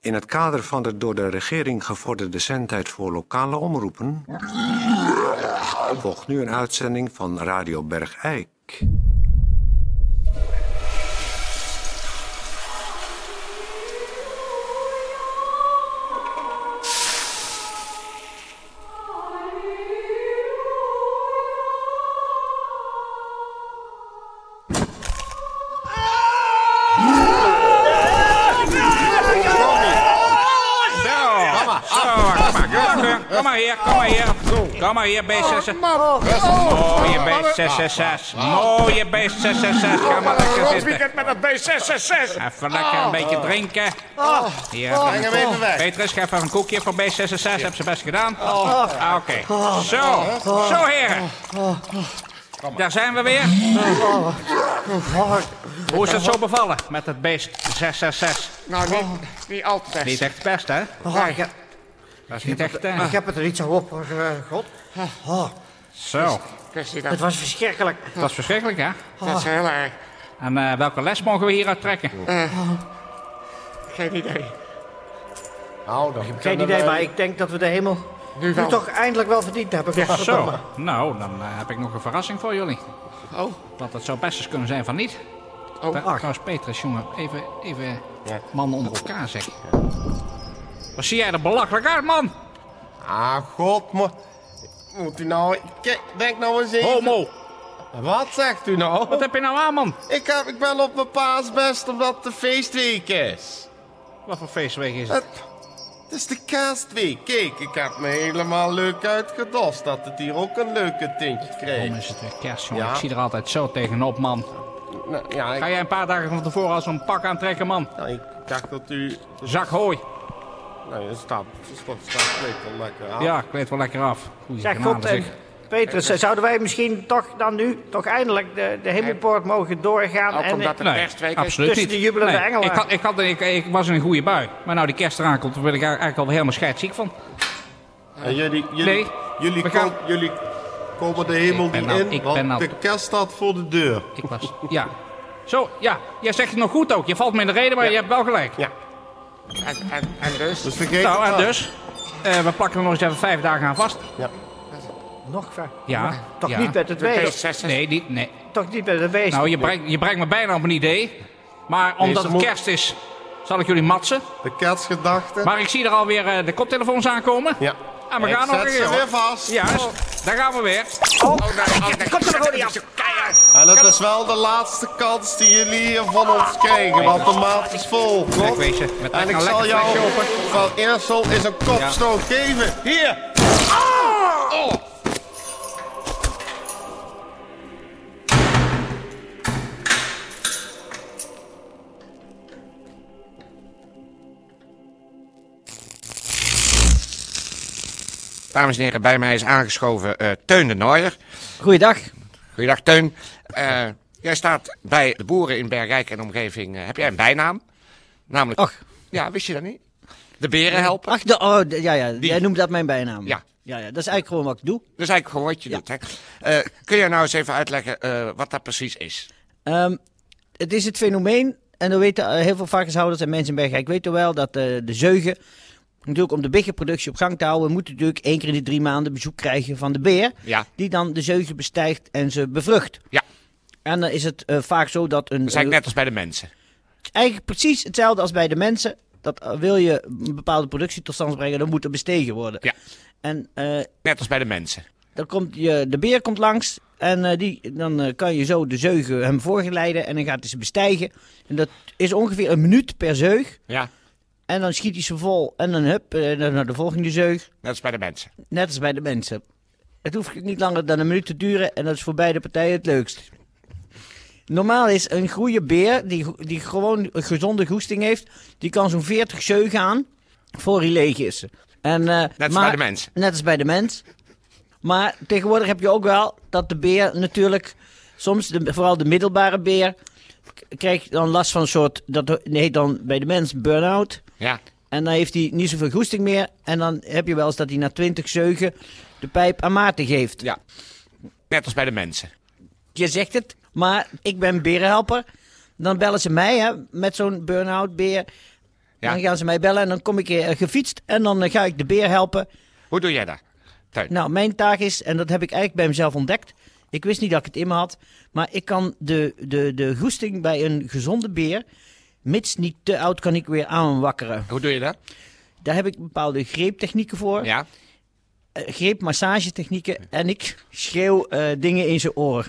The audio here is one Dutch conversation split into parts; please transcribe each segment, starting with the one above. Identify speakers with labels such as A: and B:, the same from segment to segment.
A: In het kader van de door de regering gevorderde zendtijd voor lokale omroepen. volgt nu een uitzending van Radio Bergijk.
B: Kom maar hier, kom maar hier. Kom maar hier, B66. Mooie B66. Mooie B66. Ga maar lekker zitten.
C: weekend met dat B666.
B: Even lekker een beetje drinken. Hier,
D: Breng hem even weg.
B: Petrus, geef even een koekje voor B66. Heb ze best gedaan. Ah, Oké. Zo, zo heren. Daar zijn we weer. Hoe is het zo bevallen met het beest 666?
C: Nou,
D: Oh.
C: niet, niet al te best.
B: Niet echt het best, hè?
D: Ah, ik, heb,
B: Dat is niet echt, hè?
D: ik heb het er iets aan op, eh, God. Oh,
E: Dus-
B: Zo.
C: Christy,
D: het
C: dus
D: oh.
C: dat,
D: was verschrikkelijk.
B: Dat is verschrikkelijk, hè?
C: dat is heel erg.
B: En eh, welke les mogen we hieruit trekken?
C: Geen idee.
E: Nou, dan ik
D: Geen idee,
F: eh,
D: maar ik denk dat we de hemel nu,
C: wel.
D: toch eindelijk wel verdiend hebben.
C: Ja,
B: Zo,
D: godverdomme.
B: nou, dan eh, heb ik nog een verrassing voor jullie.
C: Oh,
B: Want het zou best eens kunnen zijn van niet.
C: Oh,
B: Tra- Trouwens, Petrus, jongen, even, even mannen onder elkaar zeg. Wat zie jij er belachelijk uit, man?
E: Ah, god, mo- Moet u nou... Kijk, denk nou eens even...
B: Homo,
E: Wat zegt u nou?
B: wat heb je nou aan, man?
E: Ik, heb, ik ben op mijn paasbest omdat de feestweek is.
B: Wat voor feestweek is het?
E: Het, het is de kerstweek. Kijk, ik heb me helemaal leuk uitgedost dat het hier ook een leuke tintje kreeg.
B: Waarom is het weer kerst, jongen?
E: Ja.
B: Ik zie er altijd zo tegenop, man.
E: Nou, ja,
B: Ga
E: ik,
B: jij een paar dagen van tevoren al zo'n pak aantrekken, man?
E: nou, ik dacht dat u...
B: Zak hooi.
E: Nou, dat staat, dat staat, dat staat wel lekker aan.
B: Ja, kleed wel lekker af. Goeie
D: Zeg,
B: genade,
D: God en
B: zeg.
D: Petrus, eh, zouden wij misschien toch dan nu, toch eindelijk de, de hemelpoort mogen doorgaan?
C: ook
D: en,
C: omdat
D: eh,
C: het kerstweek is.
B: absoluut
D: Tussen
B: niet.
D: de jubelende
B: Nee,
D: engelen.
B: Ik, had, ik, had, ik, ik was in een goede bui. Maar nou die kerst eraan komt, daar ben ik eigenlijk al helemaal scheidsziek van.
E: En jullie, jullie,
B: Nee, we
E: jullie,
B: gaan-
E: kom- jullie komen de hemel
B: Ik ben
E: niet
B: al-
E: in,
B: ik
E: want
B: ben nou- al-
E: de kerst staat voor de deur.
B: Ik was, ja. Zo, ja. Jij zegt het nog goed ook. Je valt me in de reden, maar je hebt wel gelijk.
E: Ja,
C: en, en, en dus?
E: dus vergeet
B: Nou,
E: het
B: en
E: maar.
B: dus? eh, we plakken er nog eens even vijf dagen aan vast.
D: Nog ver.
B: Ja.
F: Ah,
D: Toch
B: ja.
D: niet met het
C: De
D: beest.
C: B666.
B: Nee, niet, nee.
D: Toch niet met het beest.
B: Nou, je brengt, je brengt me bijna op een idee. Maar
E: Deze
B: omdat het
E: moet-
B: kerst is, zal ik jullie matsen.
E: De kerstgedachte.
B: Maar ik zie er alweer eh, de koptelefoons aankomen.
E: Ja.
B: En we
E: Ik
B: gaan nog
E: zet
B: een
E: ze
B: keer.
E: weer
B: hoor.
E: vast.
B: Ja, dus daar gaan we weer.
C: Oh, komt er gewoon niet af. Keihard.
E: En dat is wel de laatste kans die jullie hier van ons krijgen, want de maat is vol. klopt?
B: Kijk, wees je, met
E: en
B: lekker
E: ik
B: een
E: zal
B: lekker
E: jou
B: flesje
E: van Eersel eens een kopstoot geven. Hier!
F: Dames en heren, bij mij is aangeschoven eh, Teun de Nooier.
D: Goeiedag.
F: Goeiedag Teun. Eh, jij staat bij de boeren in Bergrijk en omgeving. eh, heb jij een bijnaam? Namelijk.
G: Ach.
F: Ja, wist je dat niet? De beren helpen.
G: Ach, de, oh, de- ja, ja. jij noemt dat mijn bijnaam.
F: Ja.
G: ja. Ja, dat is eigenlijk gewoon wat ik doe.
F: Dat is eigenlijk gewoon wat je doet. Hè? Eh, kun jij nou eens even uitleggen eh, wat dat precies is?
G: Ehm, het is het fenomeen, en dat weten eh, heel veel varkenshouders en mensen in Bergrijk weten wel, dat eh, de zeugen, natuurlijk om de biggenproductie op gang te houden, moeten natuurlijk één keer in de drie maanden bezoek krijgen van de beer,
F: Ja.
G: die dan de zeugen bestijgt en ze bevrucht.
F: Ja.
G: En dan is het eh, vaak zo dat een...
F: Dat is eigenlijk
G: eh,
F: net als bij de mensen.
G: eigenlijk precies hetzelfde als bij de mensen. Dat eh, wil je een bepaalde productie tot stand brengen, dan moet er bestegen worden.
F: Ja.
G: En eh,
F: Net als bij de mensen.
G: Dan komt je, de beer komt langs en eh, die, dan eh, kan je zo de zeugen hem voorgeleiden en dan gaat hij ze bestijgen. En dat is ongeveer een minuut per zeug.
F: Ja.
G: En dan schiet hij ze vol en dan hup, eh, dan naar de volgende zeug.
F: Net als bij de mensen.
G: Net als bij de mensen. Het hoeft niet langer dan een minuut te duren en dat is voor beide partijen het leukst. Normaal is een goede beer, die, go- die gewoon een gezonde goesting heeft, die kan zo'n 40 zeugen aan voor hij leeg is. En, eh,
F: Net als
G: maar-
F: bij de mensen.
G: Net als bij de mens. Maar tegenwoordig heb je ook wel dat de beer natuurlijk, soms de, vooral de middelbare beer, k- krijgt dan last van een soort, dat heet dan bij de mens burn-out.
F: Ja.
G: En dan heeft hij niet zoveel goesting meer. En dan heb je wel eens dat hij na twintig zeugen de pijp aan Maarten geeft.
F: Ja. Net als bij de mensen.
G: Je zegt het, maar ik ben berenhelper. Dan bellen ze mij hè, met zo'n burn-out beer.
F: Ja.
D: Dan gaan ze mij bellen en dan kom ik eh, gefietst en dan eh, ga ik de beer helpen.
F: Hoe doe jij dat? Teun.
D: Nou, mijn taak is, en dat heb ik eigenlijk bij mezelf ontdekt. Ik wist niet dat ik het in me had. Maar ik kan de, de, de goesting bij een gezonde beer, mits niet te oud, kan ik weer aanwakkeren.
F: Hoe doe je dat?
D: Daar heb ik bepaalde greeptechnieken voor.
F: Ja.
D: eh, greepmassagetechnieken. En ik schreeuw eh, dingen in zijn oor.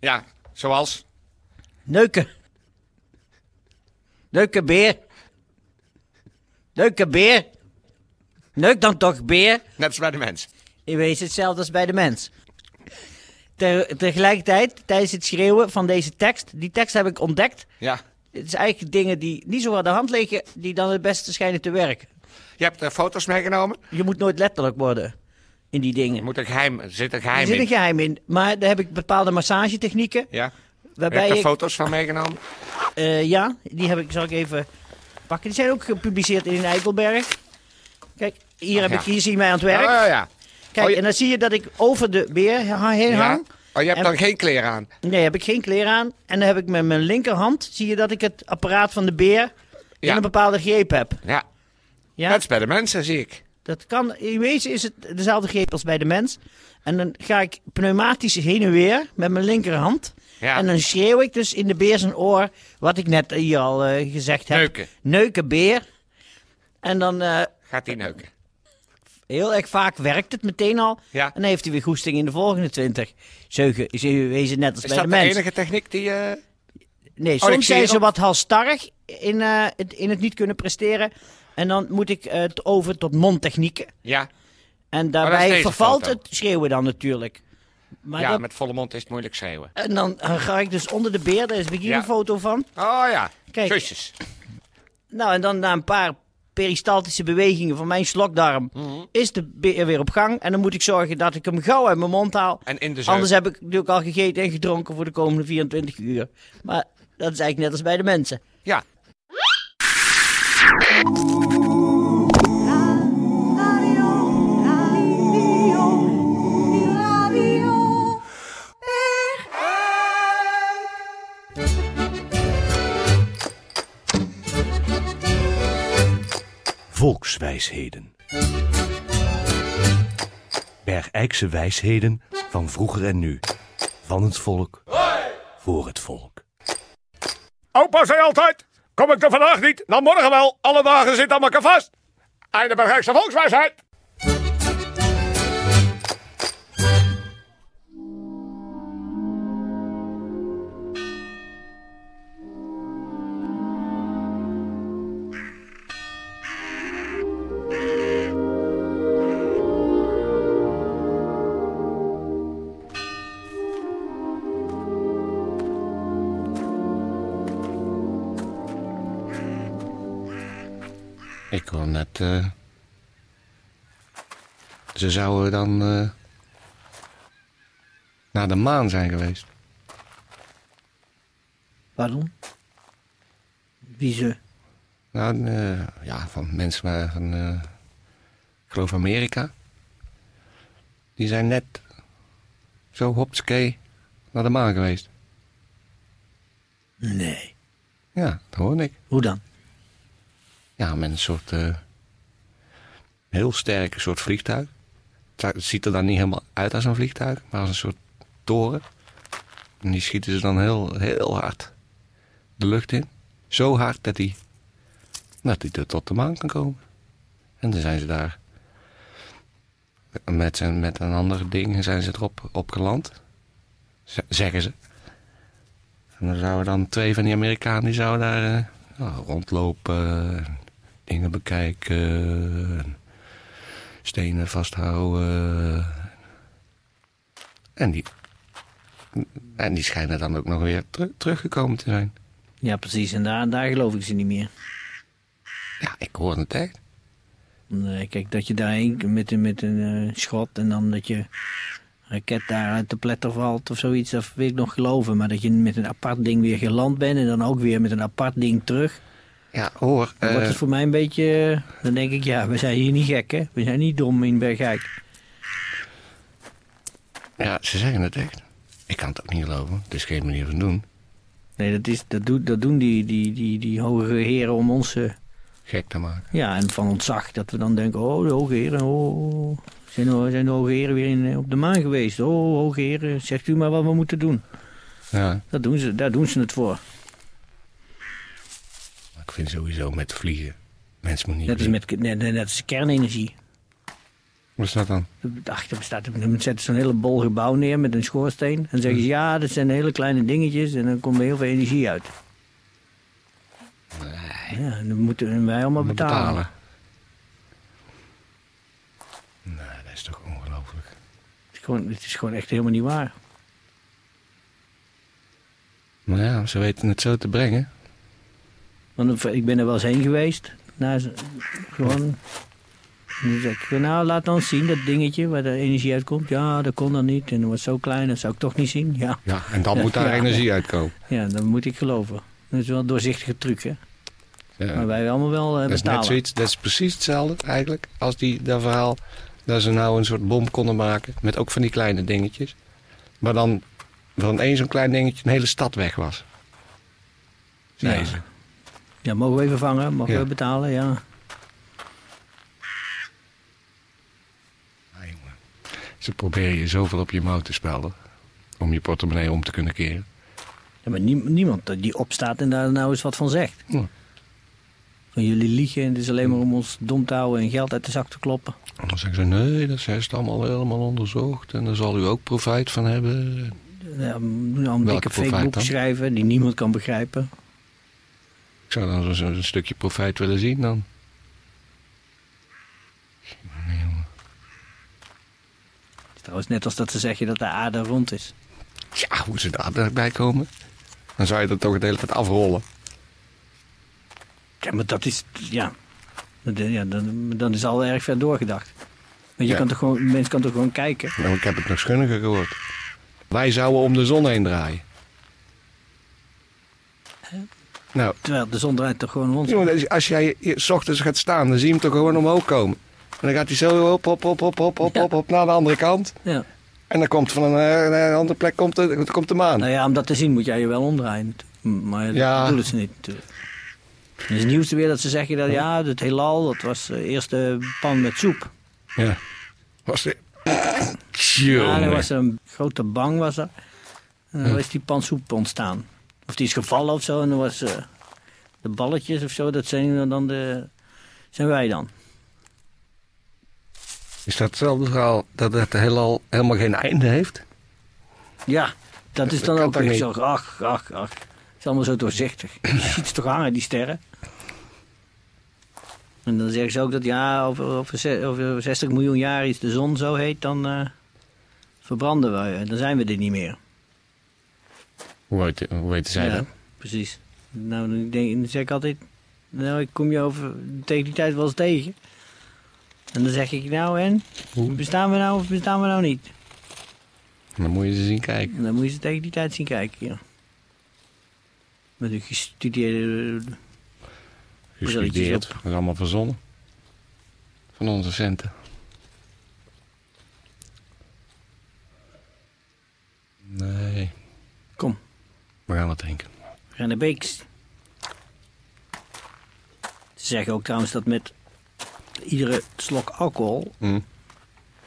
F: Ja, zoals.
D: Neuken. Neuken beer. Neuken beer. Neuk dan toch beer.
F: Net als bij de mens.
D: In wezen hetzelfde als bij de mens. Ter- tegelijkertijd, tijdens het schreeuwen van deze tekst, die tekst heb ik ontdekt.
F: Ja.
D: Het is eigenlijk dingen die niet zo aan de hand liggen, die dan het beste schijnen te werken.
F: Je hebt er foto's meegenomen.
D: Je moet nooit letterlijk worden in die
F: Er
D: dingen.
F: moet een geheim, er zit een
D: Er
F: geheim
D: zit een
F: in.
D: geheim in, maar daar heb ik bepaalde massagetechnieken.
F: Ja. Heb je
D: Waarbij
F: hebt er
D: ik,
F: foto's van meegenomen?
D: eh, ja, die heb ik, zal ik even pakken. Die zijn ook gepubliceerd in Eikelberg. Kijk, hier, heb
F: Oh, ja.
D: ik, hier zie je mij aan het werk.
F: Oh, ja.
D: Kijk,
F: Oh, je-
D: en dan zie je dat ik over de beer heen
F: ja.
D: hang.
F: Oh, je hebt
D: En-
F: dan geen kleren aan.
D: Nee, heb ik geen kleren aan. En dan heb ik met mijn linkerhand, zie je dat ik het apparaat van de beer
F: Ja.
D: in een bepaalde greep heb.
F: Ja.
D: Ja,
F: Net als bij de mensen, zie ik.
D: dat kan. In wezen is het dezelfde greep als bij de mens. En dan ga ik pneumatisch heen en weer met mijn linkerhand.
F: Ja.
D: En dan schreeuw ik dus in de beer zijn oor wat ik net hier al eh, gezegd heb.
F: Neuken.
D: Neuken beer. En dan eh,
F: Gaat die neuken.
D: heel erg vaak werkt het meteen al.
F: Ja.
D: En dan heeft hij weer goesting in de volgende twintig. Zeugen is in wezen net als
F: Is
D: bij
F: dat
D: de
F: de
D: mens.
F: enige techniek die je...
D: Nee,
F: ik zie
D: soms zijn
F: het
D: ze
F: ook.
D: wat halstarrig in, eh, het, in het niet kunnen presteren. En dan moet ik eh, het over tot mondtechnieken.
F: Ja.
D: En
F: dat is
D: daarbij
F: deze
D: vervalt
F: foto.
D: het schreeuwen dan natuurlijk. Maar
F: ja,
D: dat-
F: met volle mond is het moeilijk schreeuwen.
D: En dan eh, ga ik dus onder de beer, daar is hier
F: Ja.
D: een foto van.
F: Oh ja,
D: Kijk.
F: kusjes.
D: Nou, en dan na een paar peristaltische bewegingen van mijn slokdarm...
F: Mhm.
D: is de beer weer op gang. En dan moet ik zorgen dat ik hem gauw uit mijn mond haal.
F: En in de zeug.
D: Anders heb ik natuurlijk al gegeten en gedronken voor de komende 24 uur. Maar dat is eigenlijk net als bij de mensen.
F: Ja.
H: Volkswijsheden. Bergijkse wijsheden van vroeger en nu. Van het volk, voor het volk.
C: Opa zei altijd, kom ik er vandaag niet, dan morgen wel. Alle dagen zit aan elkaar vast. Einde bij Rijkse Volkswijsheid.
F: Ik hoor net... eh, Ze zouden dan... eh, naar de maan zijn geweest.
D: Pardon? Wie ze?
F: Nou, eh, ja, van mensen maar van... eh, ik geloof Amerika. Die zijn net... Zo hopskee naar de maan geweest.
D: Nee.
F: Ja, dat hoor ik.
D: Hoe dan?
F: Ja, met een soort. eh, heel sterk soort vliegtuig. Het zou- Het ziet er dan niet helemaal uit als een vliegtuig, maar als een soort toren. En die schieten ze dan heel, heel hard de lucht in. Zo hard dat die. dat die er tot de maan kan komen. En dan zijn ze daar. Met, zijn, met een ander ding zijn ze erop op geland. Z- zeggen ze. En dan zouden dan twee van die Amerikanen die zouden daar eh, ja, rondlopen, en dingen bekijken, en stenen vasthouden. En die, en die schijnen dan ook nog weer teru- teruggekomen te zijn.
D: Ja, precies. En daar, daar geloof ik ze niet meer.
F: Ja, ik hoor het echt.
D: Nee, kijk, dat je daarheen met, een- met een eh, schot en dan dat je raket daar uit de pletter valt of zoiets, dat wil ik nog geloven. Maar dat je met een apart ding weer geland bent en dan ook weer met een apart ding terug,
F: Ja, hoor.
D: dan wordt
F: eh,
D: het voor mij een beetje... eh, Dan denk ik, ja, we zijn hier niet gek, hè? We zijn niet dom in Bergijk.
F: ja, ze zeggen het echt. Ik kan het ook niet geloven. Het is geen manier van doen.
D: Nee, dat, is, dat, doet, dat doen die, die, die, die hogere heren om ons eh,
F: gek te maken.
D: Ja, en van ontzag dat we dan denken, oh, de hoge heren, oh, zijn, de- zijn de hoge heren weer in, eh, op de maan geweest? Oh, hoge heren, zegt u maar wat we moeten doen.
F: Ja,
D: Dat doen ze, daar doen ze het voor.
F: maar ik vind sowieso met vliegen. Mensen moeten niet
D: Dat is,
F: vliegen.
D: met, net, net als kernenergie.
F: Wat is dat dan?
D: Achter staat, dan zetten ze zo'n hele bol gebouw neer met een schoorsteen. En zeggen ze, ja, dat zijn hele kleine dingetjes en dan komt er heel veel energie uit. Ja, en dan moeten wij allemaal betalen.
F: Nee, Nou, dat is toch ongelooflijk.
D: Het, is gewoon, het is gewoon echt helemaal niet waar.
F: Maar ja, ze weten het zo te brengen.
D: Want ik ben er wel eens heen geweest. Naar, z- gewoon. En dan zeg ik, nou laat dan zien dat dingetje waar de energie uitkomt. Ja, dat kon dan niet. En dat was zo klein, dat zou ik toch niet zien. Ja,
F: Ja, en dan moet daar
D: Ja.
F: energie uitkomen.
D: ja dat moet ik geloven. Dat is wel een doorzichtige truc, hè.
F: Ja.
D: Maar wij allemaal wel eh,
F: dat is net
D: betalen.
F: zoiets, dat is precies hetzelfde eigenlijk als die, dat verhaal dat ze nou een soort bom konden maken met ook van die kleine dingetjes. Maar dan van één zo'n klein dingetje een hele stad weg was.
D: Ja.
F: Nee, ze.
D: Ja, mogen we even vangen? Mogen
F: Ja.
D: we betalen? Ja.
F: Ah, jongen. Ze proberen je zoveel op je mouw te spelden om je portemonnee om te kunnen keren.
D: ja maar nie- niemand die opstaat en daar nou eens wat van zegt.
F: Ja.
D: Van jullie liegen en het is alleen maar om ons dom te houden en geld uit de zak te kloppen.
F: En dan zeggen ze, nee, dat is allemaal helemaal onderzocht en daar zal u ook profijt van hebben.
D: Ja, nou, een
F: Welke
D: dikke fake
F: profijt
D: boek
F: dan?
D: schrijven die niemand kan begrijpen.
F: Ik zou dan zo- zo- een stukje profijt willen zien dan.
D: Trouwens, net als dat ze zeggen dat de aarde rond is.
F: Ja, hoe ze daar- daarbij komen. Dan zou je dat toch de hele tijd afrollen.
D: Ja, maar dat is. Ja. Dat- ja dan, dan is al erg ver doorgedacht. Want je
F: Ja.
D: kan toch gewoon, mensen kan toch gewoon kijken.
F: Nou, ik heb het nog schunniger gehoord. Wij zouden om de zon heen draaien. Nou,
D: Terwijl de zon draait toch gewoon rond.
F: jongen, als jij hier s ochtends gaat staan, dan zie je hem toch gewoon omhoog komen. En dan gaat hij zo op, op, op, op, op, op,
D: Ja.
F: op, op naar de andere kant.
D: Ja.
F: En dan komt van een, eh, een andere plek komt de, komt de maan.
D: Nou ja, om dat te zien moet jij je wel omdraaien. natuurlijk. M- Maar dat
F: Ja.
D: bedoelen ze niet natuurlijk. Het is het nieuws weer dat ze zeggen dat ja, het heelal, dat was eh, eerst de pan met soep.
F: Ja. Was dit?
D: Ja,
F: Tjonge.
D: er was een grote bang was er. En dan is die pan soep ontstaan. Of die is gevallen of zo. En dan was eh, de balletjes of zo, dat zijn dan de... Zijn wij dan.
F: Is dat hetzelfde verhaal dat het heelal helemaal geen einde heeft?
D: Ja, dat is
F: Dat
D: dan
F: kan
D: ook
F: toch
D: weer
F: niet?
D: zo. Ach, ach, ach. Het is allemaal zo doorzichtig. Je ziet ze toch hangen, die sterren. En dan zeggen ze ook dat ja, over, over, ze- over 60 miljoen jaar is de zon zo heet, dan eh, verbranden we. eh, Dan zijn we er niet meer.
F: Hoe weten, hoe weten zij dat?
D: precies. Nou, dan denk, dan zeg ik altijd, nou, ik kom je over, tegen die tijd wel eens tegen. En dan zeg ik, nou en? Bestaan we nou of bestaan we nou niet?
F: Dan moet je ze zien kijken.
D: En dan moet je ze tegen die tijd zien kijken, ja. Met een gestudeerde...
F: Gestudeerd. Dat is allemaal verzonnen. Van onze centen. Nee.
D: Kom,
F: We gaan wat drinken.
D: we gaan naar Beeks. Ze zeggen ook trouwens dat met iedere slok alcohol...
F: Mm.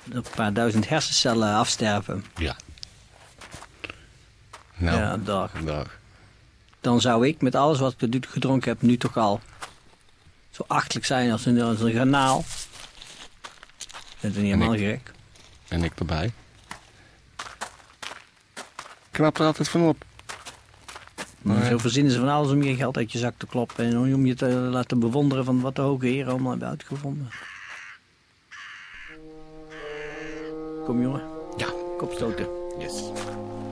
D: een paar duizend hersencellen afsterven.
F: Ja. Nou,
D: Ja, dag.
F: dag.
D: Dan zou ik met alles wat ik gedronken heb nu toch al... zo achtelijk zijn als een, als een granaal. Dat is niet helemaal
F: ik-
D: gek.
F: En ik erbij. Knap er altijd van op.
D: Maar Zo verzinnen ze van alles om je geld uit je zak te kloppen en om je te laten bewonderen van wat de hoge heren allemaal hebben uitgevonden. Kom jongen. Ja. Kopstoten.
F: Yes.